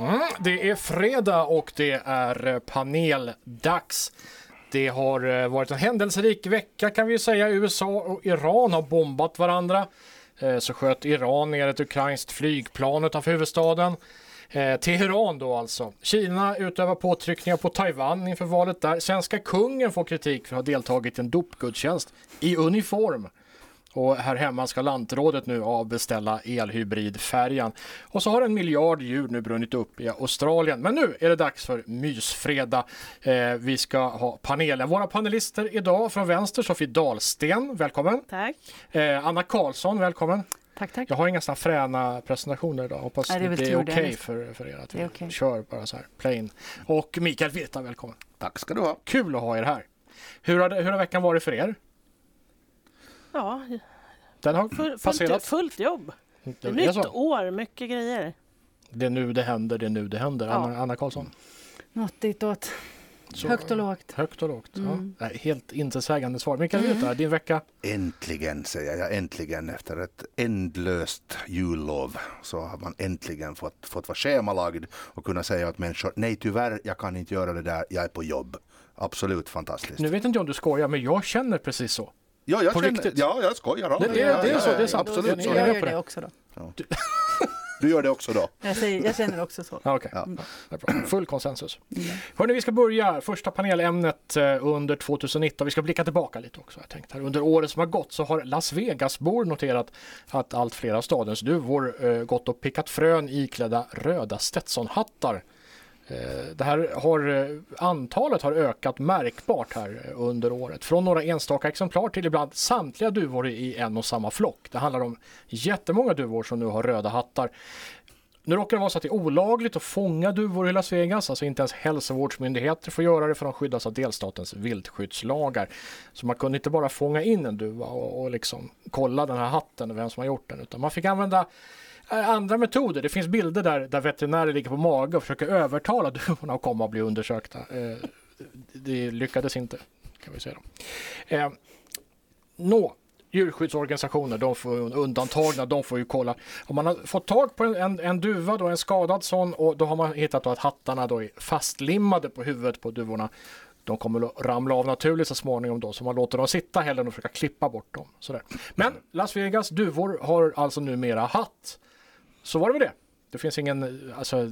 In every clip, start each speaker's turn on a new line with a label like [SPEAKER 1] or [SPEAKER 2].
[SPEAKER 1] Mm, Det är fredag och det är eh, paneldags. Det har eh, varit en händelserik vecka kan vi ju säga. USA och Iran har bombat varandra. Eh, Så sköt Iran ner ett ukrainskt flygplan utanför huvudstaden. Eh, Teheran då alltså. Kina utövar påtryckningar på Taiwan inför valet där. Svenska kungen får kritik för att ha deltagit i en dopgudstjänst i uniform. Och här hemma ska lantrådet nu avbeställa elhybridfärjan. Och så har en miljard djur nu brunnit upp i Australien. Men nu är det dags för mysfredag. Eh, vi ska ha panelen. Våra panelister idag från vänster, Sofie Dahlsten, välkommen.
[SPEAKER 2] Tack.
[SPEAKER 1] Eh, Anna Karlsson, välkommen.
[SPEAKER 3] Tack, tack.
[SPEAKER 1] Jag har inga såna fräna presentationer idag. Hoppas
[SPEAKER 3] Nej, det är väl
[SPEAKER 1] det är
[SPEAKER 3] tur
[SPEAKER 1] okej
[SPEAKER 3] det, eller?
[SPEAKER 1] för, för er att
[SPEAKER 3] Det
[SPEAKER 1] vi
[SPEAKER 3] är okej.
[SPEAKER 1] kör bara så här plain. Och Mikael Virta, välkommen.
[SPEAKER 4] Tack ska du ha.
[SPEAKER 1] Kul att ha er här. Hur har, det- hur har veckan varit för er?
[SPEAKER 2] Ja,
[SPEAKER 1] Den har
[SPEAKER 2] full, fullt,
[SPEAKER 1] passerat.
[SPEAKER 2] fullt jobb.
[SPEAKER 1] Det är
[SPEAKER 2] Nytt
[SPEAKER 1] så.
[SPEAKER 2] år, mycket grejer.
[SPEAKER 1] Det är nu det händer, det är nu det händer.
[SPEAKER 2] Ja.
[SPEAKER 1] Anna, Anna Karlsson.
[SPEAKER 3] Något ditåt.
[SPEAKER 1] Så-
[SPEAKER 3] Högt och lågt.
[SPEAKER 1] Högt och lågt.
[SPEAKER 3] Mm.
[SPEAKER 1] Ja. Nej, Helt intetsägande svar. Mikael Virta, din vecka?
[SPEAKER 4] Äntligen säger jag, äntligen efter ett ändlöst jullov så har man äntligen fått, fått vara schemalagd och kunna säga åt människor nej tyvärr jag kan inte göra det där, jag är på jobb. Absolut fantastiskt.
[SPEAKER 1] Nu vet inte jag om du skojar, men jag känner precis så.
[SPEAKER 4] ja, jag
[SPEAKER 1] på riktigt?
[SPEAKER 4] Ja, jag skojar. Ja,
[SPEAKER 1] Det- det-
[SPEAKER 4] ja,
[SPEAKER 1] det är
[SPEAKER 4] ja,
[SPEAKER 1] så,
[SPEAKER 4] ja,
[SPEAKER 1] det är sant.
[SPEAKER 4] Absolut
[SPEAKER 1] Det-
[SPEAKER 4] så.
[SPEAKER 1] är
[SPEAKER 3] Jag
[SPEAKER 1] med
[SPEAKER 3] gör
[SPEAKER 1] på
[SPEAKER 3] det
[SPEAKER 1] det.
[SPEAKER 3] också då.
[SPEAKER 4] Du gör det också då.
[SPEAKER 3] Jag, säger, jag känner också så.
[SPEAKER 1] Ja, okej.
[SPEAKER 4] Ja.
[SPEAKER 1] Ja, det är bra. Full konsensus. Hörni, vi ska börja första panelämnet eh, under 2019. Vi ska blicka tillbaka lite också. Jag tänkte här. Under året som har gått så har Las Vegas-bor noterat att allt fler av stadens duvor eh, gått och pickat frön iklädda röda Stetsonhattar. Eh, Det här har, eh, antalet har ökat märkbart här eh, under året. Från några enstaka exemplar till ibland samtliga duvor i en och samma flock. Det handlar om jättemånga duvor som nu har röda hattar. Nu råkar det vara så att det är olagligt att fånga duvor i Las Vegas, alltså inte ens hälsovårdsmyndigheter får göra det för de skyddas av delstatens viltskyddslagar. Så man kunde inte bara fånga in en duva och, och liksom kolla den här hatten och vem som har gjort den, utan man fick använda eh, andra metoder. Det finns bilder där, där veterinärer ligger på mage och försöker övertala duvorna att komma och bli undersökta. Eh, det lyckades inte, kan vi säga. då. Eh, Nå, djurskyddsorganisationer, de får undantagna, de får ju kolla. Om man har fått tag på en, en, en duva, då, en skadad sån, och då har man hittat då att hattarna då är fastlimmade på huvudet på duvorna. De kommer att ramla av naturligt så småningom då, så man låter dem sitta hellre än att försöka klippa bort dem. Sådär. Men Las Vegas duvor har alltså numera hatt. Så var det med det. Det finns ingen, alltså,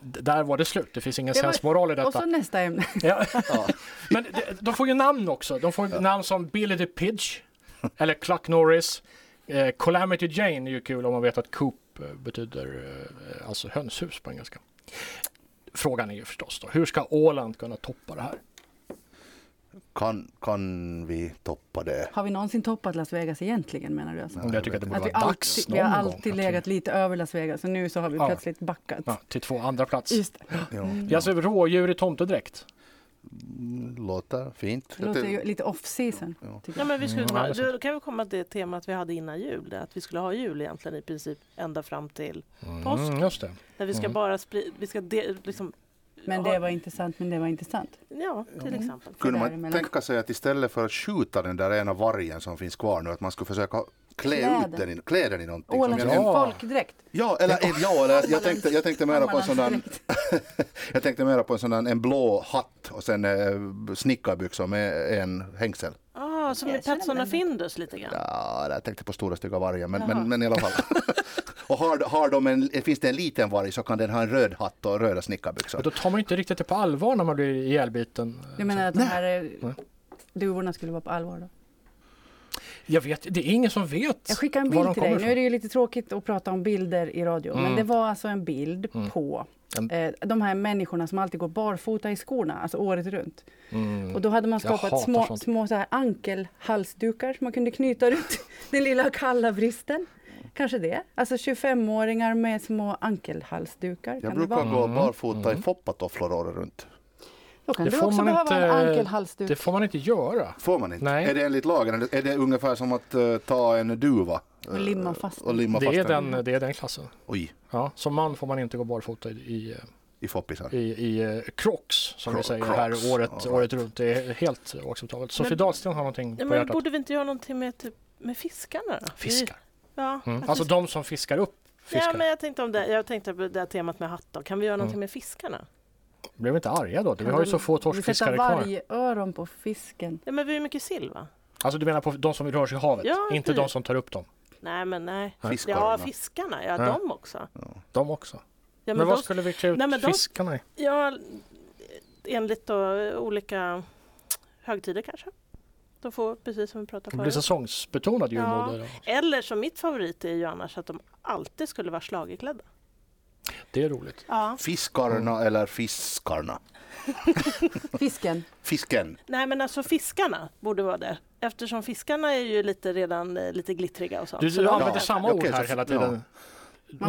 [SPEAKER 1] d- där var det slut. Det finns ingen
[SPEAKER 3] Det var-
[SPEAKER 1] sensmoral i
[SPEAKER 3] Och
[SPEAKER 1] detta.
[SPEAKER 3] så nästa ämne.
[SPEAKER 1] Ja. Men de- de får ju namn också. De får namn som Billy the Pidge eller Cluck Norris. Eh, Calamity Jane är ju kul om man vet att coop eh, betyder eh, alltså hönshus på engelska. Frågan är ju förstås då, hur ska Åland kunna toppa det här?
[SPEAKER 4] Kan, kan vi toppa det?
[SPEAKER 3] Har vi någonsin toppat Las Vegas egentligen menar du? Alltså?
[SPEAKER 1] Men jag tycker att det borde
[SPEAKER 3] Att vi
[SPEAKER 1] vara dags
[SPEAKER 3] alltid, vi har
[SPEAKER 1] någon gång
[SPEAKER 3] alltid
[SPEAKER 1] att vi-
[SPEAKER 3] legat lite över Las Vegas och nu så har vi
[SPEAKER 1] Ja.
[SPEAKER 3] plötsligt backat.
[SPEAKER 1] Ja, till två andra plats.
[SPEAKER 3] Just det.
[SPEAKER 4] Ja.
[SPEAKER 1] Det är alltså rådjur i tomtedräkt.
[SPEAKER 4] Mm. Låter fint.
[SPEAKER 3] det låter ju lite off season.
[SPEAKER 4] Ja.
[SPEAKER 3] tycker
[SPEAKER 2] Ja,
[SPEAKER 3] jag.
[SPEAKER 2] men vi skulle
[SPEAKER 1] Mm,
[SPEAKER 2] kunna,
[SPEAKER 1] ja, det är sant.
[SPEAKER 2] då kan vi komma till det temat vi hade innan jul, det att vi skulle ha jul egentligen i princip ända fram till påsk.
[SPEAKER 1] Mm, just det.
[SPEAKER 2] Där vi ska
[SPEAKER 1] Mm.
[SPEAKER 2] bara spri- vi ska de- liksom,
[SPEAKER 3] Men det var Mm. intressant, men det var intressant.
[SPEAKER 2] ja, till exempel.
[SPEAKER 4] Kunde man
[SPEAKER 3] däremellan.
[SPEAKER 4] tänka sig att istället för att skjuta den där ena vargen som finns kvar nu, att man skulle försöka klä
[SPEAKER 3] Kläder.
[SPEAKER 4] ut den i, klä den i någonting? som
[SPEAKER 3] Ålands
[SPEAKER 1] jag-
[SPEAKER 4] gör-
[SPEAKER 1] Ja.
[SPEAKER 3] folkdräkt.
[SPEAKER 4] Ja, eller, ja, eller jag, tänkte, jag tänkte mera på en sån där,
[SPEAKER 3] Ålandsdräkt.
[SPEAKER 4] jag tänkte mera på en sån där, en blå hatt och sen eh, snickarbyxor med en hängsel.
[SPEAKER 2] Ah, som i
[SPEAKER 3] Jag känner
[SPEAKER 2] Petsson
[SPEAKER 3] mig
[SPEAKER 2] och Findus lite grann.
[SPEAKER 4] Ja, jag tänkte på stora stygga vargar, men, men, men i alla fall. och har, har de en, finns det en liten varg så kan den ha en röd hatt och röda
[SPEAKER 1] Men
[SPEAKER 4] snickarbyxor.
[SPEAKER 1] då tar man ju inte riktigt det på allvar när man blir ihjälbiten.
[SPEAKER 3] Du menar att de här eh,
[SPEAKER 1] Nej.
[SPEAKER 3] duvorna skulle vara på allvar då?
[SPEAKER 1] Jag vet, det är ingen som vet.
[SPEAKER 3] Jag skickar en
[SPEAKER 1] var de
[SPEAKER 3] bild till dig.
[SPEAKER 1] kommer Mm.
[SPEAKER 3] Nu är det ju lite tråkigt att prata om bilder i radio, men det var alltså en bild på
[SPEAKER 1] En-
[SPEAKER 3] eh, de här människorna som alltid går barfota i skorna, alltså året runt.
[SPEAKER 1] Mm.
[SPEAKER 3] Och då hade man
[SPEAKER 1] Jag hatar
[SPEAKER 3] skapat små,
[SPEAKER 1] sånt.
[SPEAKER 3] små så här ankelhalsdukar som man kunde knyta runt den lilla kalla vristen. Kanske det. Alltså 25-åringar med små ankelhalsdukar.
[SPEAKER 4] Jag
[SPEAKER 3] kan det
[SPEAKER 4] brukar
[SPEAKER 3] vara.
[SPEAKER 4] gå barfota
[SPEAKER 1] Mm.
[SPEAKER 4] i foppatofflor året runt.
[SPEAKER 3] Då kan
[SPEAKER 1] Det
[SPEAKER 3] du
[SPEAKER 1] får
[SPEAKER 3] också
[SPEAKER 1] man
[SPEAKER 3] behöva en
[SPEAKER 1] inte-
[SPEAKER 3] ankelhalsduk.
[SPEAKER 1] Det får man inte göra.
[SPEAKER 4] Får man inte?
[SPEAKER 1] Nej.
[SPEAKER 4] Är det enligt lagen? Är det- Är det ungefär som att eh, ta en duva?
[SPEAKER 3] Och limma fast
[SPEAKER 4] Och limma
[SPEAKER 1] Det
[SPEAKER 4] fast
[SPEAKER 1] är den, det är den klassen.
[SPEAKER 4] Oj,
[SPEAKER 1] Ja, som man får man inte gå barfota i, i,
[SPEAKER 4] i foppisar.
[SPEAKER 1] i, i eh, crocs som vi
[SPEAKER 4] Cro-
[SPEAKER 1] säger
[SPEAKER 4] crocs.
[SPEAKER 1] här
[SPEAKER 4] All
[SPEAKER 1] året,
[SPEAKER 4] right.
[SPEAKER 1] året runt. Det är helt oacceptabelt. Sofie
[SPEAKER 2] Men-
[SPEAKER 1] Dahlsten har någonting
[SPEAKER 2] Nej,
[SPEAKER 1] på
[SPEAKER 2] men
[SPEAKER 1] hjärtat.
[SPEAKER 2] borde vi inte göra någonting med, typ, med fiskarna då?
[SPEAKER 1] Fiskar.
[SPEAKER 2] Ja,
[SPEAKER 1] Mm.
[SPEAKER 2] att
[SPEAKER 1] Alltså
[SPEAKER 2] vi-
[SPEAKER 1] de som fiskar Mm. upp
[SPEAKER 2] Ja,
[SPEAKER 1] fiskarna?
[SPEAKER 2] men jag tänkte om det, jag tänkte på det här temat med hattar. Kan vi göra någonting med fiskarna?
[SPEAKER 1] Blev vi inte arga då? Vi har ju så få torskfiskare
[SPEAKER 3] Vi
[SPEAKER 1] kvar.
[SPEAKER 3] sätter vargöron på fisken.
[SPEAKER 2] Ja, men vi har ju mycket sill va?
[SPEAKER 1] Alltså du menar på de som rör sig i havet?
[SPEAKER 2] Ja,
[SPEAKER 1] inte
[SPEAKER 2] typ.
[SPEAKER 1] de som tar upp dem?
[SPEAKER 2] Nej, men nej. Ja,
[SPEAKER 4] Fiskorna.
[SPEAKER 2] fiskarna. Ja,
[SPEAKER 1] Ja.
[SPEAKER 2] de också.
[SPEAKER 1] De också?
[SPEAKER 2] Ja,
[SPEAKER 1] men
[SPEAKER 2] men
[SPEAKER 1] vad
[SPEAKER 2] de,
[SPEAKER 1] skulle vi klä ut
[SPEAKER 2] Nej, men de-
[SPEAKER 1] fiskarna i?
[SPEAKER 2] ja, enligt då eh, olika högtider kanske. De får precis som vi pratade
[SPEAKER 1] Det blir
[SPEAKER 2] förut.
[SPEAKER 1] säsongsbetonad
[SPEAKER 2] Ja.
[SPEAKER 1] julmode. då.
[SPEAKER 2] Eller som mitt favorit är ju annars att de alltid skulle vara schlagerklädda.
[SPEAKER 1] Det är roligt.
[SPEAKER 2] Ja.
[SPEAKER 4] Fiskarna
[SPEAKER 1] Mm.
[SPEAKER 4] eller fiskarna?
[SPEAKER 3] Fisken.
[SPEAKER 4] Fisken.
[SPEAKER 2] Nej men alltså fiskarna borde vara det. Eftersom fiskarna är ju lite redan eh, lite glittriga och sånt.
[SPEAKER 1] Du,
[SPEAKER 2] Så
[SPEAKER 1] du
[SPEAKER 2] de-
[SPEAKER 1] använder
[SPEAKER 4] Ja.
[SPEAKER 1] samma ord
[SPEAKER 4] Okej,
[SPEAKER 1] här
[SPEAKER 4] så-
[SPEAKER 1] hela tiden.
[SPEAKER 3] Man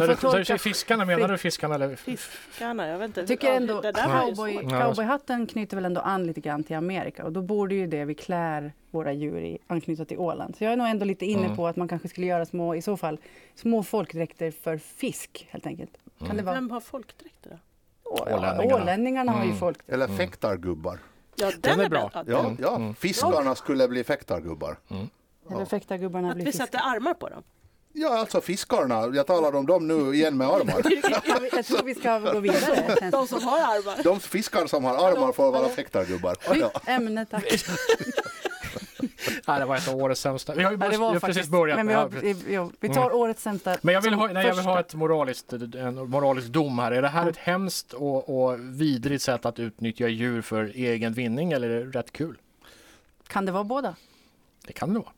[SPEAKER 1] När
[SPEAKER 3] får
[SPEAKER 1] du, när du säger
[SPEAKER 3] tolka-
[SPEAKER 1] fiskarna, menar du fiskarna eller?
[SPEAKER 2] Fiskarna, jag vet inte.
[SPEAKER 3] Jag tycker
[SPEAKER 2] Ja,
[SPEAKER 3] ändå
[SPEAKER 2] det där var ju
[SPEAKER 3] cowboy,
[SPEAKER 2] svårt.
[SPEAKER 1] Ja, det-
[SPEAKER 3] cowboyhatten knyter väl ändå an lite grann till Amerika och då borde ju det vi klär våra djur i anknyta till Åland. Så jag är nog ändå lite inne
[SPEAKER 1] Mm.
[SPEAKER 3] på att man kanske skulle göra små, i så fall, små folkdräkter för fisk helt enkelt. Kan
[SPEAKER 1] Mm.
[SPEAKER 3] det vara?
[SPEAKER 2] Vem har folkdräkter då?
[SPEAKER 3] Å-
[SPEAKER 1] Ålänningarna.
[SPEAKER 3] Ålänningarna har ju
[SPEAKER 1] Mm.
[SPEAKER 3] folkdräkt.
[SPEAKER 4] Eller fäktargubbar.
[SPEAKER 2] Ja, den,
[SPEAKER 1] är
[SPEAKER 2] är
[SPEAKER 1] bra.
[SPEAKER 2] bra.
[SPEAKER 4] Ja,
[SPEAKER 1] Mm,
[SPEAKER 4] ja.
[SPEAKER 1] mm.
[SPEAKER 4] fiskarna skulle bli fäktargubbar.
[SPEAKER 3] Eller fäktargubbarna
[SPEAKER 2] Att
[SPEAKER 3] blir
[SPEAKER 2] vi
[SPEAKER 3] fisk.
[SPEAKER 2] sätter armar på dem.
[SPEAKER 4] Ja, alltså fiskarna. Jag talar om dem nu igen med armar.
[SPEAKER 3] Jag- Jag tror vi ska gå vidare. sen.
[SPEAKER 2] De som har armar.
[SPEAKER 4] De fiskar som har armar får vara fäktargubbar. Ja.
[SPEAKER 3] Ämne tack.
[SPEAKER 1] Nej, det var ett av årets sämsta. Vi har ju
[SPEAKER 3] Ja,
[SPEAKER 1] bara,
[SPEAKER 3] det
[SPEAKER 1] vi har
[SPEAKER 3] var
[SPEAKER 1] precis
[SPEAKER 3] faktiskt,
[SPEAKER 1] börjat.
[SPEAKER 3] men vi,
[SPEAKER 1] Ja, precis. Mm.
[SPEAKER 3] har, ja, vi tar årets sämsta.
[SPEAKER 1] Men jag vill
[SPEAKER 3] som
[SPEAKER 1] ha, nej, jag vill ha
[SPEAKER 3] första.
[SPEAKER 1] ett moraliskt, en moralisk dom här. Är det här ett hemskt och, och vidrigt sätt att utnyttja djur för egen vinning eller är det rätt kul?
[SPEAKER 3] Kan det vara båda?
[SPEAKER 1] Det kan det vara.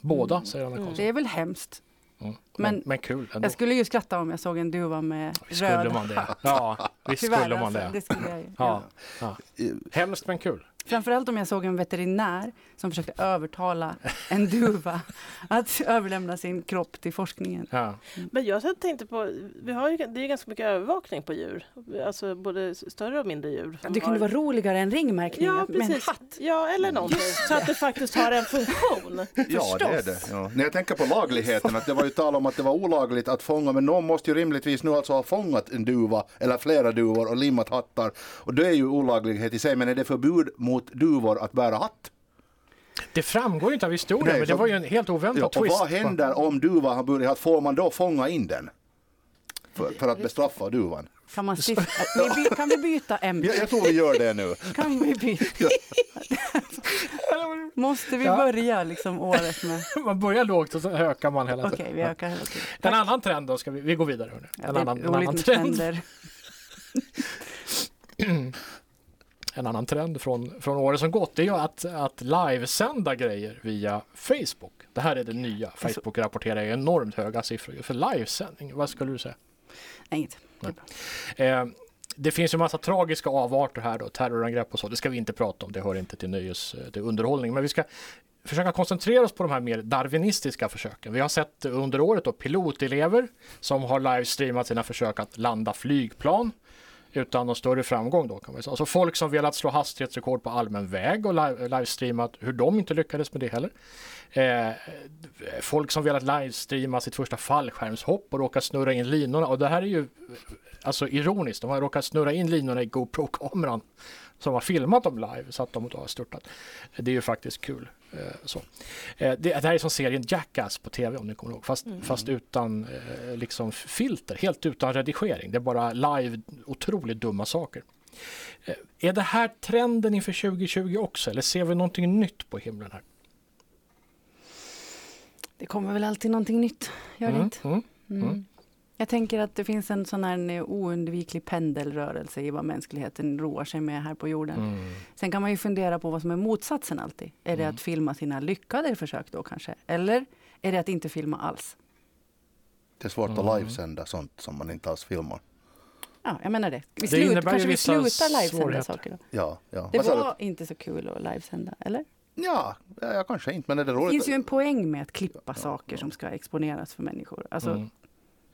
[SPEAKER 1] Båda, säger Anna Karlsson.
[SPEAKER 3] Det är väl hemskt.
[SPEAKER 1] Mm. Men,
[SPEAKER 3] Mm. Men-
[SPEAKER 1] men kul ändå.
[SPEAKER 3] Jag skulle ju skratta om jag såg en duva med
[SPEAKER 1] Skulle
[SPEAKER 3] röd
[SPEAKER 1] man det? Ja, visst skulle man
[SPEAKER 3] alltså,
[SPEAKER 1] det.
[SPEAKER 3] det skulle jag ju.
[SPEAKER 1] Ja,
[SPEAKER 3] Ja.
[SPEAKER 1] ja. Hemskt men kul.
[SPEAKER 3] Framförallt om jag såg en veterinär som försökte övertala en duva att överlämna sin kropp till forskningen.
[SPEAKER 1] Ja.
[SPEAKER 2] Men jag så tänkte på, vi har ju, det är ju ganska mycket övervakning på djur. Alltså både större och mindre djur. som
[SPEAKER 3] Det kunde
[SPEAKER 2] har-
[SPEAKER 3] vara roligare än ringmärkning
[SPEAKER 2] Ja,
[SPEAKER 3] att- med en
[SPEAKER 2] precis.
[SPEAKER 3] hatt.
[SPEAKER 2] Ja, eller någonting. Så att det faktiskt har en funktion.
[SPEAKER 4] Ja, det är det. Ja. När jag tänker på lagligheten, att det var ju tal om att det var olagligt att fånga, men någon måste ju rimligtvis nu alltså ha fångat en duva eller flera duvor och limmat hattar. Och det är ju olaglighet i sig, men är det förbud mot duvor att bära hatt?
[SPEAKER 1] Det framgår ju inte av historien,
[SPEAKER 4] Nej,
[SPEAKER 1] men det
[SPEAKER 4] så-
[SPEAKER 1] var ju en helt oväntad
[SPEAKER 4] Ja, och
[SPEAKER 1] twist.
[SPEAKER 4] vad händer om duvan har burit hatt? Får man då fånga in den? För, för att bestraffa duvan?
[SPEAKER 3] Kan, man sist, vi by, kan vi byta ämne?
[SPEAKER 4] Jag, jag tror vi gör det nu.
[SPEAKER 3] Kan vi byta? Måste vi
[SPEAKER 1] Ja.
[SPEAKER 3] börja liksom året med...
[SPEAKER 1] Man börjar lågt och så ökar man hela
[SPEAKER 3] Okej,
[SPEAKER 1] tiden.
[SPEAKER 3] vi ökar hela tiden.
[SPEAKER 1] En annan trend då, ska vi, vi går vidare. Hörni.
[SPEAKER 3] Ja,
[SPEAKER 1] en,
[SPEAKER 3] det är
[SPEAKER 1] annan, en,
[SPEAKER 3] roligt
[SPEAKER 1] annan
[SPEAKER 3] med
[SPEAKER 1] trend,
[SPEAKER 3] trender.
[SPEAKER 1] en annan trend från, från året som gått det är ju att, att livesända grejer via Facebook. Det här är det nya. Facebook rapporterar ju enormt höga siffror ju för livesändning. Vad skulle du säga?
[SPEAKER 3] Nej, inget.
[SPEAKER 1] Eh, det finns ju massa tragiska avarter här då, terrorangrepp och så. Det ska vi inte prata om, det hör inte till nöjes, eh, till underhållning. Men vi ska försöka koncentrera oss på de här mer darwinistiska försöken. Vi har sett eh, under året då pilotelever som har livestreamat sina försök att landa flygplan utan någon större framgång då kan man säga. Alltså folk som velat slå hastighetsrekord på allmän väg och live- livestreamat hur de inte lyckades med det heller. Eh, folk som velat livestreama sitt första fallskärmshopp och råkat snurra in linorna och det här är ju alltså ironiskt, de har råkat snurra in linorna i GoPro-kameran som har filmat dem live så att de då har störtat. Det är ju faktiskt kul. eh, Så. Eh, Det, det här är som serien Jackass på tv om ni kommer ihåg,
[SPEAKER 3] Mm.
[SPEAKER 1] fast, fast utan eh, liksom filter, helt utan redigering. Det är bara live, otroligt dumma saker. Eh, Är det här trenden inför 2020 också eller ser vi någonting nytt på himlen här?
[SPEAKER 3] Det kommer väl alltid någonting nytt, gör det
[SPEAKER 1] Mm,
[SPEAKER 3] inte?
[SPEAKER 1] mm.
[SPEAKER 3] Mm. Jag tänker att det finns en sån här oundviklig pendelrörelse i vad mänskligheten roar sig med här på jorden.
[SPEAKER 1] Mm.
[SPEAKER 3] Sen kan man ju fundera på vad som är motsatsen alltid. Är
[SPEAKER 1] Mm.
[SPEAKER 3] det att filma sina lyckade försök då kanske? Eller är det att inte filma alls?
[SPEAKER 4] Det är svårt att livesända sånt som man inte alls filmar.
[SPEAKER 3] Ja, jag menar det. Vi
[SPEAKER 1] Det
[SPEAKER 3] slut,
[SPEAKER 1] innebär ju
[SPEAKER 3] kanske vi
[SPEAKER 1] vissa
[SPEAKER 3] slutar livesända
[SPEAKER 1] svårigheter.
[SPEAKER 3] saker då.
[SPEAKER 4] Ja, ja.
[SPEAKER 3] Det
[SPEAKER 4] Vad sa du?
[SPEAKER 3] var inte så kul att livesända, eller?
[SPEAKER 4] Ja, ja, ja, kanske inte, men är det
[SPEAKER 3] Det
[SPEAKER 4] roligt?
[SPEAKER 3] finns ju en poäng med att klippa saker som ska exponeras för människor. Alltså,
[SPEAKER 1] Mm.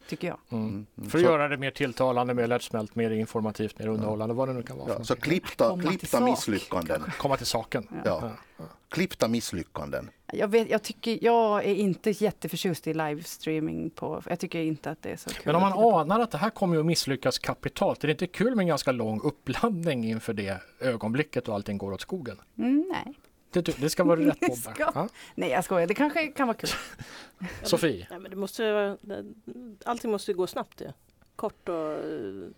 [SPEAKER 3] tycker jag.
[SPEAKER 4] Mm, mm.
[SPEAKER 1] För att
[SPEAKER 4] Så-
[SPEAKER 1] göra det mer tilltalande, mer lättsmält, mer informativt, mer underhållande, vad det nu kan vara. för
[SPEAKER 4] Ja, så
[SPEAKER 1] någonting.
[SPEAKER 4] klippta,
[SPEAKER 3] Komma till
[SPEAKER 4] klippta
[SPEAKER 3] sak,
[SPEAKER 4] misslyckanden.
[SPEAKER 1] Komma till saken.
[SPEAKER 4] Ja. Klippta misslyckanden.
[SPEAKER 3] Jag, vet, jag, tycker, jag är inte jätteförtjust i livestreaming. På, jag tycker inte att det är så kul.
[SPEAKER 1] Men om man
[SPEAKER 3] att titta på.
[SPEAKER 1] anar att det här kommer ju att misslyckas kapitalt, är det inte kul med en ganska lång uppladdning inför det ögonblicket och allting går åt skogen?
[SPEAKER 3] Mm, nej.
[SPEAKER 1] Det, du- det ska vara rätt Bobbe.
[SPEAKER 3] Ska.
[SPEAKER 1] Ja.
[SPEAKER 3] Nej, jag skojar. Det kanske kan vara kul.
[SPEAKER 1] Sofie,
[SPEAKER 2] Nej, men det måste, ju vara- allting måste ju gå snabbt ju. Kort och eh,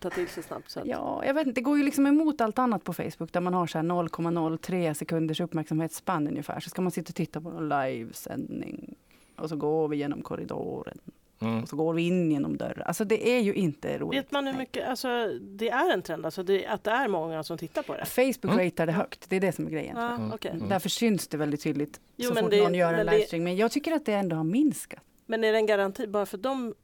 [SPEAKER 2] ta till sig snabbt. Så att,
[SPEAKER 3] Ja, jag vet inte. Det går ju liksom emot allt annat på Facebook där man har så här 0,03 sekunders uppmärksamhetsspann ungefär. Så ska man sitta och titta på någon livesändning. Och så går vi genom korridoren.
[SPEAKER 1] mm.
[SPEAKER 3] Och så går vi in genom dörren. Alltså det är ju inte roligt.
[SPEAKER 2] Vet man hur mycket, alltså det är en trend alltså, det, att det är många som tittar på det?
[SPEAKER 3] Facebook
[SPEAKER 1] Mm.
[SPEAKER 3] ratear det högt. Det är det som är grejen. tror jag.
[SPEAKER 2] Ja, okej.
[SPEAKER 1] Mm.
[SPEAKER 3] Därför syns det väldigt tydligt
[SPEAKER 2] Jo,
[SPEAKER 3] så
[SPEAKER 2] men
[SPEAKER 3] fort
[SPEAKER 2] det-
[SPEAKER 3] någon gör en
[SPEAKER 2] men det-
[SPEAKER 3] livestream. Men jag tycker att det ändå har minskat.
[SPEAKER 2] Men är det en garanti bara för de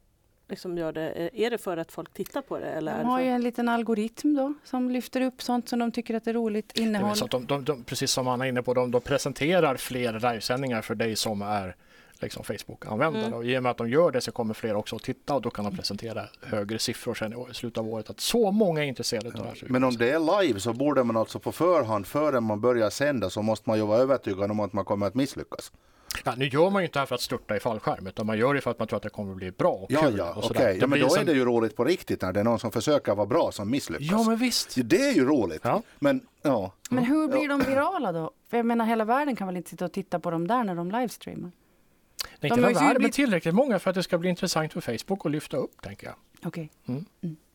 [SPEAKER 2] liksom gör det? är- Är det för att folk tittar på det? Eller är
[SPEAKER 3] De
[SPEAKER 2] det
[SPEAKER 3] har
[SPEAKER 2] för-
[SPEAKER 3] ju en liten algoritm då som lyfter upp sånt som de tycker att är roligt
[SPEAKER 1] Det är
[SPEAKER 3] innehåll.
[SPEAKER 1] väl så att de, de, de, precis som Anna är inne på, de, de presenterar fler livesändningar för dig som är liksom Facebook-användare.
[SPEAKER 2] Mm.
[SPEAKER 1] Och I och med att de gör det så kommer fler också att titta och då kan de presentera högre siffror sen i år- i slutet av året. Att så många är intresserade av det här. så vi
[SPEAKER 4] Men
[SPEAKER 1] kan
[SPEAKER 4] om
[SPEAKER 1] se.
[SPEAKER 4] det är live så borde man alltså på förhand, före man börjar sända, så måste man ju vara övertygad om att man kommer att misslyckas.
[SPEAKER 1] ja, nu gör man ju inte det här för att störta i fallskärm, utan man gör det för att man tror att det kommer att bli bra och
[SPEAKER 4] Ja,
[SPEAKER 1] kul.
[SPEAKER 4] ja,
[SPEAKER 1] och
[SPEAKER 4] okej.
[SPEAKER 1] sådär.
[SPEAKER 4] Ja, men
[SPEAKER 1] blir
[SPEAKER 4] då
[SPEAKER 1] som-
[SPEAKER 4] är det ju roligt på riktigt när det är någon som försöker vara bra som misslyckas.
[SPEAKER 1] Ja, men visst.
[SPEAKER 4] Det är ju roligt.
[SPEAKER 1] Ja.
[SPEAKER 4] Men ja,
[SPEAKER 3] Men hur blir de virala då? För jag menar hela världen kan väl inte sitta och titta på dem där när de livestreamar?
[SPEAKER 1] Nej,
[SPEAKER 3] De
[SPEAKER 1] inte
[SPEAKER 3] har
[SPEAKER 1] de
[SPEAKER 3] ju
[SPEAKER 1] värld, men
[SPEAKER 3] blivit-
[SPEAKER 1] tillräckligt många för att det ska bli intressant för Facebook att lyfta upp, tänker jag.
[SPEAKER 3] Okej.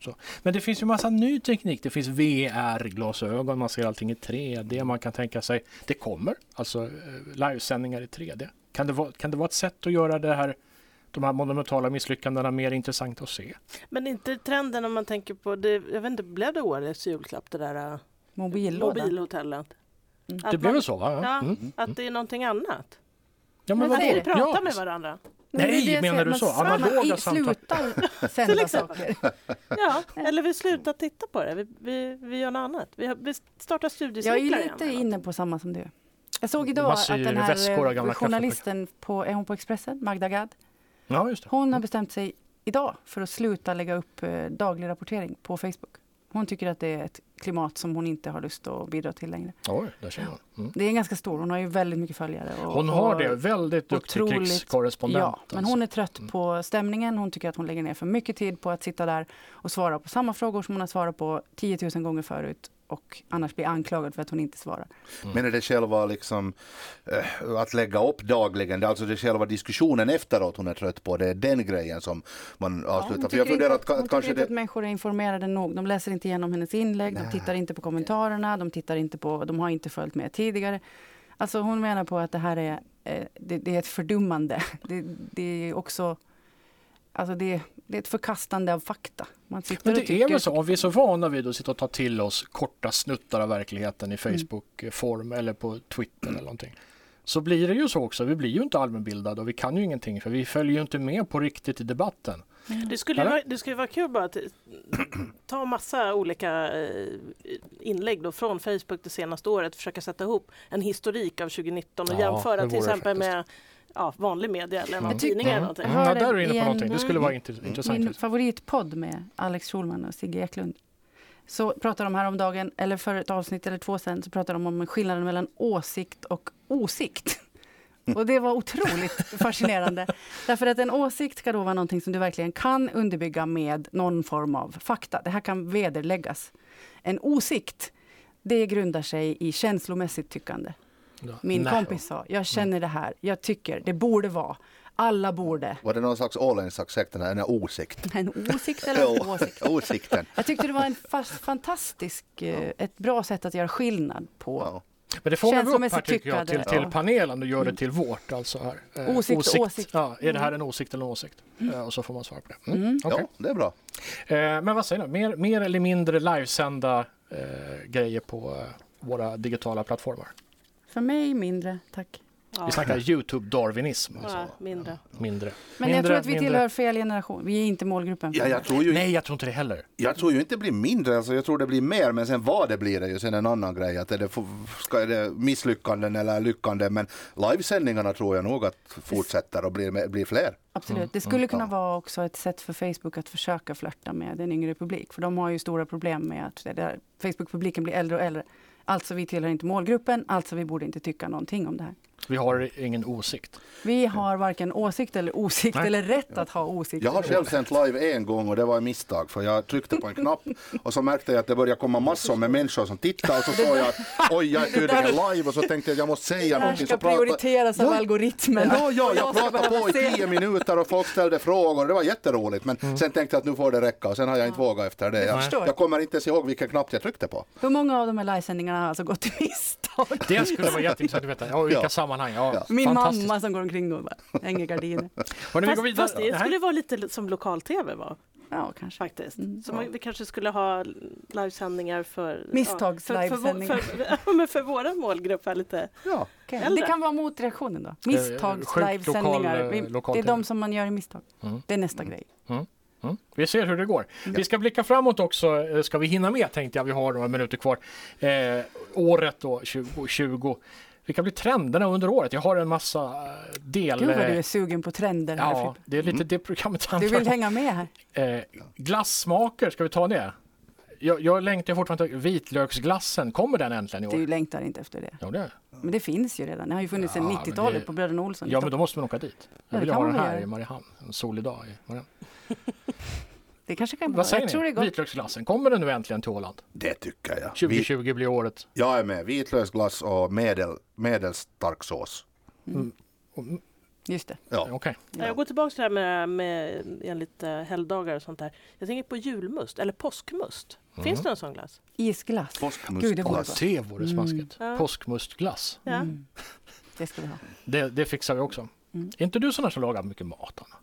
[SPEAKER 1] Så. Men det finns ju massa ny teknik. Det finns VR-glasögon, man ser allting i 3D, man kan tänka sig... Det kommer alltså eh, livesändningar i 3D. Kan det, vara, kan det vara ett sätt att göra det här, de här monumentala misslyckandena mer intressanta att se?
[SPEAKER 2] Men inte trenden om man tänker på, det, jag vet inte, blev det årets julklapp det där äh,
[SPEAKER 3] Mobillåda.
[SPEAKER 2] mobilhotellet?
[SPEAKER 3] Mm.
[SPEAKER 2] Att
[SPEAKER 1] det blev
[SPEAKER 2] man,
[SPEAKER 1] väl så? Va?
[SPEAKER 2] Ja,
[SPEAKER 1] Mm.
[SPEAKER 2] att det är någonting annat.
[SPEAKER 1] Ja,
[SPEAKER 3] Men
[SPEAKER 2] Men
[SPEAKER 3] vad
[SPEAKER 2] att
[SPEAKER 3] säger
[SPEAKER 2] vi
[SPEAKER 3] du?
[SPEAKER 2] pratar
[SPEAKER 1] Ja.
[SPEAKER 2] med varandra.
[SPEAKER 1] Nej,
[SPEAKER 3] Men det är det jag
[SPEAKER 1] menar
[SPEAKER 3] säger,
[SPEAKER 1] du
[SPEAKER 3] man
[SPEAKER 1] så?
[SPEAKER 3] sa- man
[SPEAKER 1] Analoga
[SPEAKER 3] i-
[SPEAKER 1] samtal.
[SPEAKER 3] Slutar sända
[SPEAKER 2] exempel.
[SPEAKER 3] saker.
[SPEAKER 2] Ja, eller vi slutar titta på det. Vi, vi, vi gör något annat. Vi, har- vi startar
[SPEAKER 3] Jag
[SPEAKER 2] studiecirklar
[SPEAKER 3] är
[SPEAKER 2] igen
[SPEAKER 3] lite
[SPEAKER 2] eller något.
[SPEAKER 3] inne på samma som du. Jag såg idag
[SPEAKER 1] Man
[SPEAKER 3] att
[SPEAKER 1] ser ju
[SPEAKER 3] den
[SPEAKER 1] väskor av
[SPEAKER 3] här
[SPEAKER 1] gamla
[SPEAKER 3] eh, journalisten på, är hon på Expressen, Magda Gad,
[SPEAKER 1] ja, just det.
[SPEAKER 3] hon har bestämt sig idag för att sluta lägga upp eh, daglig rapportering på Facebook. Hon tycker att det är ett klimat som hon inte har lust att bidra till längre.
[SPEAKER 1] Oj, där ser man. Mm.
[SPEAKER 3] Det är en ganska stor, hon har ju väldigt mycket följare. Och,
[SPEAKER 1] Hon har
[SPEAKER 3] och-
[SPEAKER 1] det. Väldigt duktig
[SPEAKER 3] otroligt-
[SPEAKER 1] krigskorrespondent.
[SPEAKER 3] Ja,
[SPEAKER 4] alltså.
[SPEAKER 3] men hon är trött
[SPEAKER 4] Mm.
[SPEAKER 3] på stämningen. Hon tycker att hon lägger ner för mycket tid på att sitta där och svara på samma frågor som hon har svarat på 10 000 gånger förut och annars blir anklagad för att hon inte svarar.
[SPEAKER 1] Mm.
[SPEAKER 4] men är det själva liksom eh, att lägga upp dagligen, det är alltså det själva diskussionen efteråt hon är trött på, det är den grejen som man avslutar.
[SPEAKER 3] hon
[SPEAKER 4] För
[SPEAKER 3] tycker
[SPEAKER 4] jag funderar
[SPEAKER 3] inte,
[SPEAKER 4] att,
[SPEAKER 3] att, hon
[SPEAKER 4] att
[SPEAKER 3] tycker
[SPEAKER 4] kanske
[SPEAKER 3] inte
[SPEAKER 4] det...
[SPEAKER 3] att människor är informerade nog. De läser inte igenom hennes inlägg, de tittar inte på kommentarerna, de, tittar inte på, de har inte följt med tidigare. Alltså hon menar på att det här är, eh, det, det är ett fördummande. Det, det är också, alltså det, det är ett förkastande av fakta. Man sitter
[SPEAKER 1] Men
[SPEAKER 3] och
[SPEAKER 1] det
[SPEAKER 3] tycker,
[SPEAKER 1] är väl så, om vi är så vana vid att sitta och ta till oss korta snuttar av verkligheten i Facebook-form eller på Twitter eller någonting. Så blir det ju så också, vi blir ju inte allmänbildade och vi kan ju ingenting för vi följer ju inte med på riktigt i debatten.
[SPEAKER 2] Det skulle, ju
[SPEAKER 1] Eller?
[SPEAKER 2] vara, det skulle vara kul bara att eh, ta massa olika eh, inlägg då från Facebook det senaste året, försöka sätta ihop en historik av 2019 och
[SPEAKER 1] Ja, det
[SPEAKER 2] jämföra till
[SPEAKER 1] vore
[SPEAKER 2] exempel med ja, vanlig media eller
[SPEAKER 1] Jag
[SPEAKER 2] en
[SPEAKER 3] tyckte-
[SPEAKER 2] tidning eller
[SPEAKER 1] Mm.
[SPEAKER 2] någonting.
[SPEAKER 1] Mm. Ja,
[SPEAKER 3] hörde
[SPEAKER 1] där är du inne
[SPEAKER 3] i
[SPEAKER 1] på
[SPEAKER 3] en-
[SPEAKER 1] någonting, det skulle vara int-
[SPEAKER 3] Min
[SPEAKER 1] intressant.
[SPEAKER 3] favoritpodd med Alex Schulman och Sigge Eklund. Så pratade de här om dagen, eller för ett avsnitt eller två sen, så pratade de om skillnaden mellan åsikt och osikt. Och det var otroligt fascinerande. Därför att en åsikt ska då vara någonting som du verkligen kan underbygga med någon form av fakta. Det här kan vederläggas. En osikt, det grundar sig i känslomässigt tyckande.
[SPEAKER 1] Ja.
[SPEAKER 3] Min
[SPEAKER 1] Nej.
[SPEAKER 3] kompis sa, jag känner det här, jag tycker, det borde vara, alla borde.
[SPEAKER 4] Var det någon slags åländsk sekt, den här åsikt?
[SPEAKER 3] En åsikt eller en
[SPEAKER 4] Jo,
[SPEAKER 3] åsikt?
[SPEAKER 4] åsikten.
[SPEAKER 3] Jag tyckte det var en fas- fantastisk, eh, ett bra sätt att göra skillnad på
[SPEAKER 4] Ja.
[SPEAKER 1] Men det fångar vi upp här
[SPEAKER 3] Känslomässigt
[SPEAKER 1] tycker jag till,
[SPEAKER 3] tyckande,
[SPEAKER 1] till
[SPEAKER 3] ja.
[SPEAKER 1] panelen och gör det till vårt. Alltså här. Eh,
[SPEAKER 3] Åsikt, åsikt.
[SPEAKER 1] Ja, är det här en åsikt eller en åsikt? Eh, och så får man svara på det. Mm. okej.
[SPEAKER 4] Ja, det är bra.
[SPEAKER 1] Eh, men vad säger du, mer, mer eller mindre livesända eh, grejer på eh, våra digitala plattformar?
[SPEAKER 3] För mig mindre, tack.
[SPEAKER 2] Ja,
[SPEAKER 1] Vi snackar Youtube-darwinism. Alltså.
[SPEAKER 2] ja, mindre.
[SPEAKER 1] Mindre.
[SPEAKER 3] Men jag
[SPEAKER 1] mindre,
[SPEAKER 3] tror att vi
[SPEAKER 1] mindre.
[SPEAKER 3] tillhör fel generation. Vi är inte målgruppen. för
[SPEAKER 4] Ja,
[SPEAKER 3] det
[SPEAKER 4] jag
[SPEAKER 3] här.
[SPEAKER 4] tror ju
[SPEAKER 1] Nej, jag tror inte det heller.
[SPEAKER 4] Jag tror ju inte det blir mindre, alltså jag tror det blir mer, men sen vad det blir är ju sen en annan grej. Att är, det, f- ska, är det misslyckanden eller lyckanden? Men livesändningarna tror jag nog att fortsätter och blir, me- blir fler.
[SPEAKER 1] Mm.
[SPEAKER 3] Absolut. Det skulle kunna
[SPEAKER 4] Mm. ja.
[SPEAKER 3] vara också ett sätt för Facebook att försöka flörta med en yngre publik. För de har ju stora problem med att det där Facebook-publiken blir äldre och äldre. Alltså vi tillhör inte målgruppen, alltså vi borde inte tycka någonting om det här.
[SPEAKER 1] Vi har ingen åsikt.
[SPEAKER 3] Vi har varken åsikt eller åsikt
[SPEAKER 1] Nej.
[SPEAKER 3] eller rätt att ha åsikter.
[SPEAKER 4] Mm. Jag har själv sänt live en gång och det var en misstag för jag tryckte på en knapp och så märkte jag att det började komma massor med människor som tittade och så såg jag att oj, jag är tydligen live och så tänkte jag att jag måste säga
[SPEAKER 3] Det här
[SPEAKER 4] någonting.
[SPEAKER 3] ska
[SPEAKER 4] så pratade-
[SPEAKER 3] prioriteras av
[SPEAKER 4] Ja.
[SPEAKER 3] algoritmen.
[SPEAKER 4] Ja, ja, jag
[SPEAKER 3] ska
[SPEAKER 4] pratade
[SPEAKER 3] behöva
[SPEAKER 4] på i
[SPEAKER 3] se.
[SPEAKER 4] tio minuter och folk ställde frågor. Det var jätteroligt. Men sen tänkte jag att nu får det räcka och sen har jag inte vågat efter det. Jag,
[SPEAKER 3] förstår.
[SPEAKER 4] jag kommer inte ens ihåg vilken knapp jag tryckte på.
[SPEAKER 3] Hur många av de här livesändningarna har alltså gått till misstag?
[SPEAKER 1] Det skulle vara jätteintressant att veta. Ja, vilka
[SPEAKER 4] Ja.
[SPEAKER 1] sammanhang. Ja,
[SPEAKER 3] Min
[SPEAKER 1] fantastiskt.
[SPEAKER 3] mamma som går omkring och bara hänger gardiner.
[SPEAKER 1] Hörrni, vi går
[SPEAKER 2] Fast,
[SPEAKER 1] vidare.
[SPEAKER 2] fast det
[SPEAKER 1] Nej.
[SPEAKER 2] skulle vara lite som lokal-tv var
[SPEAKER 3] Ja, kanske.
[SPEAKER 2] faktiskt. så man, vi kanske skulle ha livesändningar för...
[SPEAKER 3] Misstags-
[SPEAKER 2] ja, för, för, vår-
[SPEAKER 3] livesändningar.
[SPEAKER 2] för, ja, men för våra målgrupp här lite.
[SPEAKER 4] Ja.
[SPEAKER 3] Det kan vara motreaktionen då.
[SPEAKER 1] Misstags- Eh, sjukt lokal, livesändningar.
[SPEAKER 3] Misstags-livesändningar.
[SPEAKER 1] Vi- eh, lokal
[SPEAKER 3] Det
[SPEAKER 1] det är
[SPEAKER 3] är
[SPEAKER 1] de
[SPEAKER 3] de
[SPEAKER 1] tv.
[SPEAKER 3] som man gör i misstag.
[SPEAKER 1] Mm.
[SPEAKER 3] Det är nästa grej.
[SPEAKER 1] Mm. Vi ser hur det går. Vi ska blicka framåt också. eh, Ska vi hinna med tänkte jag. Vi har några minuter kvar. Eh, året då, 2020. Vilka blir trenderna under året? Jag har en massa eh, del...
[SPEAKER 3] Gud vad du
[SPEAKER 1] eh,
[SPEAKER 3] är sugen på trender här
[SPEAKER 1] ja,
[SPEAKER 3] Frippe.
[SPEAKER 1] det är lite det programmet
[SPEAKER 3] Du
[SPEAKER 1] handlar
[SPEAKER 3] vill
[SPEAKER 1] om.
[SPEAKER 3] hänga med här.
[SPEAKER 1] Eh, glassmaker, ska vi ta det? Jag, jag längtar fortfarande till vitlöksglassen. Kommer den äntligen i
[SPEAKER 3] Du
[SPEAKER 1] år?
[SPEAKER 3] längtar inte efter det.
[SPEAKER 1] Ja, det,
[SPEAKER 3] Men det finns ju redan. Det har ju funnits
[SPEAKER 1] Ja,
[SPEAKER 3] sedan
[SPEAKER 1] men
[SPEAKER 3] 90-talet
[SPEAKER 1] det-
[SPEAKER 3] på Bröderna Olsson. i
[SPEAKER 1] ja men då
[SPEAKER 3] Stockholm.
[SPEAKER 1] måste man åka dit.
[SPEAKER 3] det
[SPEAKER 1] Jag vill
[SPEAKER 3] kan
[SPEAKER 1] ha
[SPEAKER 3] man
[SPEAKER 1] den
[SPEAKER 3] väl
[SPEAKER 1] här
[SPEAKER 3] göra.
[SPEAKER 1] i Mariehamn. En solig dag i Mariehamn.
[SPEAKER 3] Det kanske kan vara.
[SPEAKER 1] Vad
[SPEAKER 3] Jag tror det
[SPEAKER 1] säger
[SPEAKER 3] är
[SPEAKER 1] ni?
[SPEAKER 3] gott.
[SPEAKER 1] Vitlöksglassen, kommer den nu äntligen till Åland?
[SPEAKER 4] Det tycker jag. Vi,
[SPEAKER 1] 2020 blir året.
[SPEAKER 4] jag är med. Vitlöksglass och medel, medelstark sås.
[SPEAKER 3] Just det.
[SPEAKER 4] Ja.
[SPEAKER 1] Okej.
[SPEAKER 2] Ja. Jag går tillbaka till det här med, med enligt eh, helgdagar och sånt där. Jag tänker på julmust eller påskmust.
[SPEAKER 1] Mm.
[SPEAKER 2] Finns det en sån glass?
[SPEAKER 3] Isglass. Gud, det vore
[SPEAKER 4] Påskmustglass.
[SPEAKER 3] gott.
[SPEAKER 1] Det vore smaskigt.
[SPEAKER 2] Ja.
[SPEAKER 1] mm. Påskmustglass.
[SPEAKER 2] Ja.
[SPEAKER 3] Det ska vi ha.
[SPEAKER 1] Det, det fixar vi också.
[SPEAKER 3] Mm.
[SPEAKER 1] Är inte du sån här som lagar mycket mat? Anna?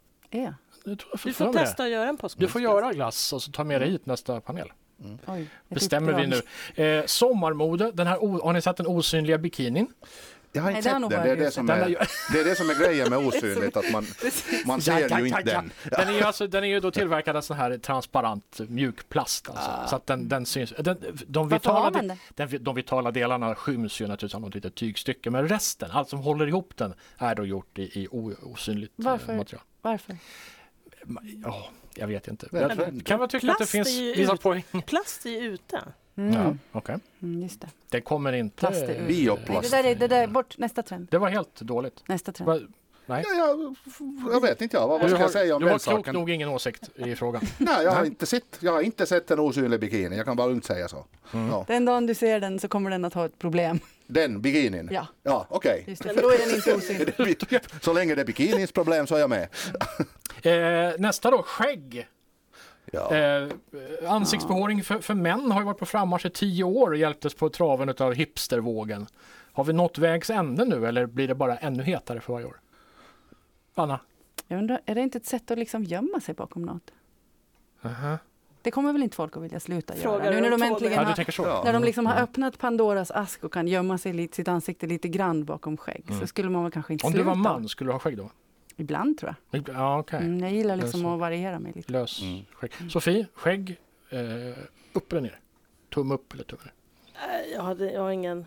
[SPEAKER 3] Ja.
[SPEAKER 1] Jag tror jag
[SPEAKER 2] Du
[SPEAKER 1] för
[SPEAKER 2] får
[SPEAKER 1] mig det.
[SPEAKER 2] testa att göra en
[SPEAKER 1] Du
[SPEAKER 2] påskmust.
[SPEAKER 1] får göra glass och så ta med dig hit nästa panel.
[SPEAKER 3] Oj, ett
[SPEAKER 1] Bestämmer vi
[SPEAKER 3] uppdrag.
[SPEAKER 1] nu. Eh, sommarmode, den här, o- har ni sett den osynliga bikinin?
[SPEAKER 4] Jag har inte
[SPEAKER 3] Nej, det har
[SPEAKER 4] sett den.
[SPEAKER 3] nog
[SPEAKER 4] Det
[SPEAKER 3] bara
[SPEAKER 4] är
[SPEAKER 3] du
[SPEAKER 4] det,
[SPEAKER 3] sett.
[SPEAKER 4] som
[SPEAKER 1] Den
[SPEAKER 4] är,
[SPEAKER 1] har ju-
[SPEAKER 4] det är det som är grejen med osynligt, att man, man ser ju inte den.
[SPEAKER 1] Den är ju, alltså, den är ju då tillverkad av sån här transparent mjuk plast. Alltså, Så att den, den syns. Den, de, vitala,
[SPEAKER 3] Ah. har
[SPEAKER 1] de-
[SPEAKER 3] man det?
[SPEAKER 1] den, de vitala delarna skyms ju naturligtvis av något litet tygstycke. Men resten, allt som håller ihop den, är då gjort i, i o- osynligt eh,
[SPEAKER 3] Varför?
[SPEAKER 1] material.
[SPEAKER 3] Varför?
[SPEAKER 1] Ja, jag vet inte.
[SPEAKER 4] Men-
[SPEAKER 1] Jag, tror- kan man tycka att det
[SPEAKER 2] Plast
[SPEAKER 1] finns
[SPEAKER 2] är ju
[SPEAKER 1] vissa
[SPEAKER 2] ut-
[SPEAKER 1] poäng?
[SPEAKER 2] Plast är ju ute.
[SPEAKER 3] Mm.
[SPEAKER 1] Ja, okej.
[SPEAKER 3] Mm, just det.
[SPEAKER 1] Det kommer inte...
[SPEAKER 3] Plast är ut. Nej, det
[SPEAKER 4] Bioplast.
[SPEAKER 3] där är, det där är bort. Nästa trend.
[SPEAKER 1] Det var helt dåligt.
[SPEAKER 3] Nästa trend.
[SPEAKER 1] Va- Nej.
[SPEAKER 4] Ja, jag, jag vet inte jag. Vad, vad
[SPEAKER 1] Du
[SPEAKER 4] ska
[SPEAKER 1] har,
[SPEAKER 4] jag säga om
[SPEAKER 1] du har
[SPEAKER 4] den
[SPEAKER 1] klokt
[SPEAKER 4] saken?
[SPEAKER 1] nog ingen åsikt i frågan.
[SPEAKER 4] Nej, jag har, inte sett, jag har inte sett en osynlig bikini. Jag kan bara lugnt säga så. Ja.
[SPEAKER 3] Den dagen du ser den så kommer den att ha ett problem.
[SPEAKER 4] Den bikinin?
[SPEAKER 3] Ja.
[SPEAKER 4] Ja, okej.
[SPEAKER 3] Just det, för då är den inte osynlig.
[SPEAKER 4] Så länge det är bikinins problem så är jag med.
[SPEAKER 1] Eh, nästa då, skägg.
[SPEAKER 4] Ja.
[SPEAKER 1] Eh, ansiktsbehåring för, för män har ju varit på frammarsch i tio år och hjälptes på traven utav hipstervågen. Har vi nått vägs ände nu eller blir det bara ännu hetare för varje år? Anna?
[SPEAKER 3] Jag undrar, är det inte ett sätt att liksom gömma sig bakom något? Det kommer väl inte folk att vilja sluta
[SPEAKER 2] Frågar
[SPEAKER 3] göra? Nu
[SPEAKER 2] om
[SPEAKER 3] när de
[SPEAKER 2] tåget.
[SPEAKER 3] äntligen
[SPEAKER 1] Ja, du
[SPEAKER 3] har,
[SPEAKER 1] tänker Mm. så?
[SPEAKER 4] Ja.
[SPEAKER 3] när de liksom har öppnat Pandoras ask och kan gömma sig lite, sitt ansikte lite grann bakom skägg så skulle man väl kanske inte
[SPEAKER 1] Mm. Om du
[SPEAKER 3] sluta.
[SPEAKER 1] var man, skulle du ha skägg då?
[SPEAKER 3] Ibland tror jag.
[SPEAKER 1] Ja, okej.
[SPEAKER 3] Mm, jag gillar liksom
[SPEAKER 1] Det är så.
[SPEAKER 3] att variera mig lite.
[SPEAKER 1] Lös
[SPEAKER 4] Mm.
[SPEAKER 1] skägg. Sofie, skägg. Eh, upp eller ner? Tumme upp eller tumme ner?
[SPEAKER 2] Nej, Jag, hade, jag har ingen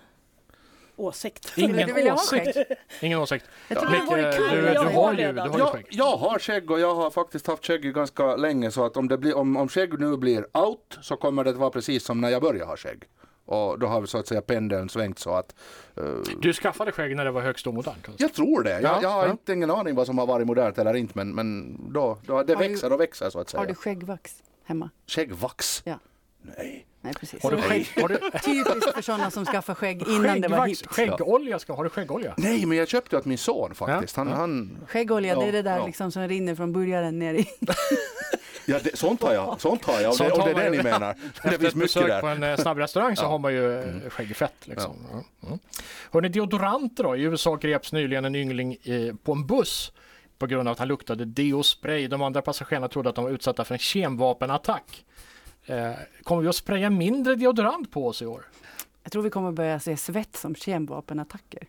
[SPEAKER 2] åsikt.
[SPEAKER 1] Ingen
[SPEAKER 3] du vilja ha
[SPEAKER 1] åsikt. Ingen åsikt.
[SPEAKER 3] Jag tror det vore
[SPEAKER 1] Micke,
[SPEAKER 3] kul.
[SPEAKER 1] du,
[SPEAKER 2] Jag
[SPEAKER 1] du, har
[SPEAKER 2] har
[SPEAKER 1] ju, du
[SPEAKER 2] redan.
[SPEAKER 1] har ju
[SPEAKER 4] Jag,
[SPEAKER 1] skägg.
[SPEAKER 4] jag har skägg och jag har faktiskt haft skägg ganska länge så att om, det blir, om, om skägg nu blir out så kommer det att vara precis som när jag började ha skägg. Och då har vi så att säga pendeln svängt så att
[SPEAKER 1] Du skaffade skägg när det var högst omodernt. alltså.
[SPEAKER 4] jag tror det. Jag,
[SPEAKER 1] Ja,
[SPEAKER 4] jag har
[SPEAKER 1] ja.
[SPEAKER 4] inte ingen aning vad som har varit modernt eller inte men, men då, då, det
[SPEAKER 3] Har du-
[SPEAKER 4] växer och växer så att
[SPEAKER 3] Har
[SPEAKER 4] säga.
[SPEAKER 3] du skäggvax hemma?
[SPEAKER 4] Skäggvax?
[SPEAKER 3] Ja.
[SPEAKER 4] Nej.
[SPEAKER 3] Nej, precis.
[SPEAKER 1] Har du skägg? Har du,
[SPEAKER 3] Typiskt för sådana som skaffar skägg innan det var
[SPEAKER 1] skäggvax,
[SPEAKER 3] hippt.
[SPEAKER 1] skäggolja? Ska, har du skäggolja?
[SPEAKER 4] Nej, men jag köpte åt min son faktiskt. Han, han,
[SPEAKER 3] Skäggolja, det
[SPEAKER 4] Ja,
[SPEAKER 3] är det där
[SPEAKER 4] ja.
[SPEAKER 3] liksom som rinner från burgaren ner i.
[SPEAKER 4] ja, det, sånt har jag, sånt har jag om
[SPEAKER 1] Sånt
[SPEAKER 4] det, om
[SPEAKER 1] har
[SPEAKER 4] det är
[SPEAKER 1] man
[SPEAKER 4] det
[SPEAKER 1] ju.
[SPEAKER 4] ni menar. Det
[SPEAKER 1] Efter
[SPEAKER 4] finns
[SPEAKER 1] ett
[SPEAKER 4] mycket
[SPEAKER 1] besök på
[SPEAKER 4] där.
[SPEAKER 1] en eh, snabbrestaurang så har man ju mm. skäggfett. Liksom. Ja. Mm. Hörrni, deodoranter då? I USA greps nyligen en yngling eh, på en buss på grund av att han luktade deospray. De andra passagerarna trodde att de var utsatta för en kemvapenattack. Eh, kommer vi att spraya mindre deodorant på oss i år?
[SPEAKER 3] Jag tror vi kommer börja se svett som kemvapenattacker.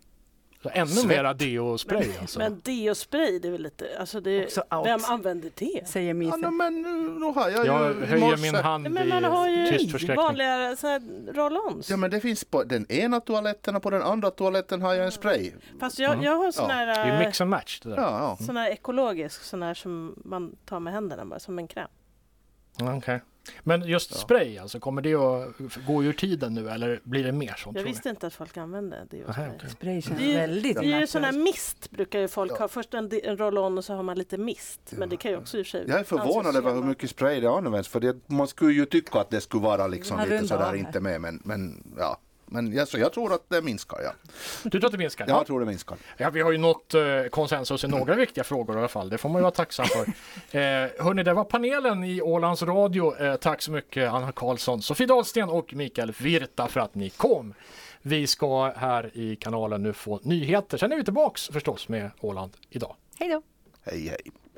[SPEAKER 1] Så ännu
[SPEAKER 4] Svett.
[SPEAKER 1] mera deospray alltså?
[SPEAKER 2] Men deospray, det är väl lite... Alltså det,
[SPEAKER 3] Också out.
[SPEAKER 2] vem använder det?
[SPEAKER 3] Säger Mise.
[SPEAKER 4] Ja, nej, men nu, nu har jag,
[SPEAKER 1] jag
[SPEAKER 4] ju i
[SPEAKER 1] höjer
[SPEAKER 4] morse-
[SPEAKER 1] min hand
[SPEAKER 2] Nej, Mm, Men man har
[SPEAKER 1] i tyst
[SPEAKER 2] ju
[SPEAKER 1] förskräckning.
[SPEAKER 2] vanliga såna här roll-ons.
[SPEAKER 4] Ja men det finns på den ena toaletten och på den andra toaletten har jag en spray.
[SPEAKER 2] Fast jag, jag har sån
[SPEAKER 4] Ja.
[SPEAKER 1] Det är
[SPEAKER 2] här,
[SPEAKER 1] ju
[SPEAKER 2] eh,
[SPEAKER 1] mix and match det där.
[SPEAKER 4] Ja, ja.
[SPEAKER 2] sån här ekologisk, sån här som man tar med händerna bara, som en kräm.
[SPEAKER 1] Mm, Okej. Men just
[SPEAKER 4] Ja.
[SPEAKER 1] spray alltså, kommer det att gå ur tiden nu eller blir det mer sånt?
[SPEAKER 2] Jag
[SPEAKER 1] tror ni?
[SPEAKER 2] visste inte att folk använde det.
[SPEAKER 1] Aha, okej.
[SPEAKER 3] Spray känns
[SPEAKER 2] Det är ju-
[SPEAKER 3] väldigt
[SPEAKER 2] Det är ju
[SPEAKER 3] naturligt.
[SPEAKER 2] sån här mist brukar ju folk
[SPEAKER 4] Ja.
[SPEAKER 2] ha. Först en, di- en roll-on och så har man lite mist.
[SPEAKER 4] Ja.
[SPEAKER 2] Men det kan ju också i och för sig
[SPEAKER 4] Jag är förvånad
[SPEAKER 2] anses
[SPEAKER 4] över hur
[SPEAKER 2] gälla.
[SPEAKER 4] mycket spray det används för det, man skulle ju tycka att det skulle vara liksom
[SPEAKER 3] Ja,
[SPEAKER 4] lite
[SPEAKER 3] runda av
[SPEAKER 4] sådär
[SPEAKER 3] här.
[SPEAKER 4] inte med men, men ja. Men jag, så jag tror att det minskar ja.
[SPEAKER 1] Du tror att det minskar?
[SPEAKER 4] Jag tror det minskar.
[SPEAKER 1] Ja, vi har ju nått eh, konsensus i några viktiga frågor i alla fall. Det får man ju vara tacksam för. Eh, hörni, det var panelen i Ålands Radio. Eh, tack så mycket Anna Karlsson, Sofie Dahlsten och Mikael Virta för att ni kom. Vi ska här i kanalen nu få nyheter. Sen är vi tillbaks förstås med Åland idag.
[SPEAKER 3] Hej då!
[SPEAKER 4] Hej hej.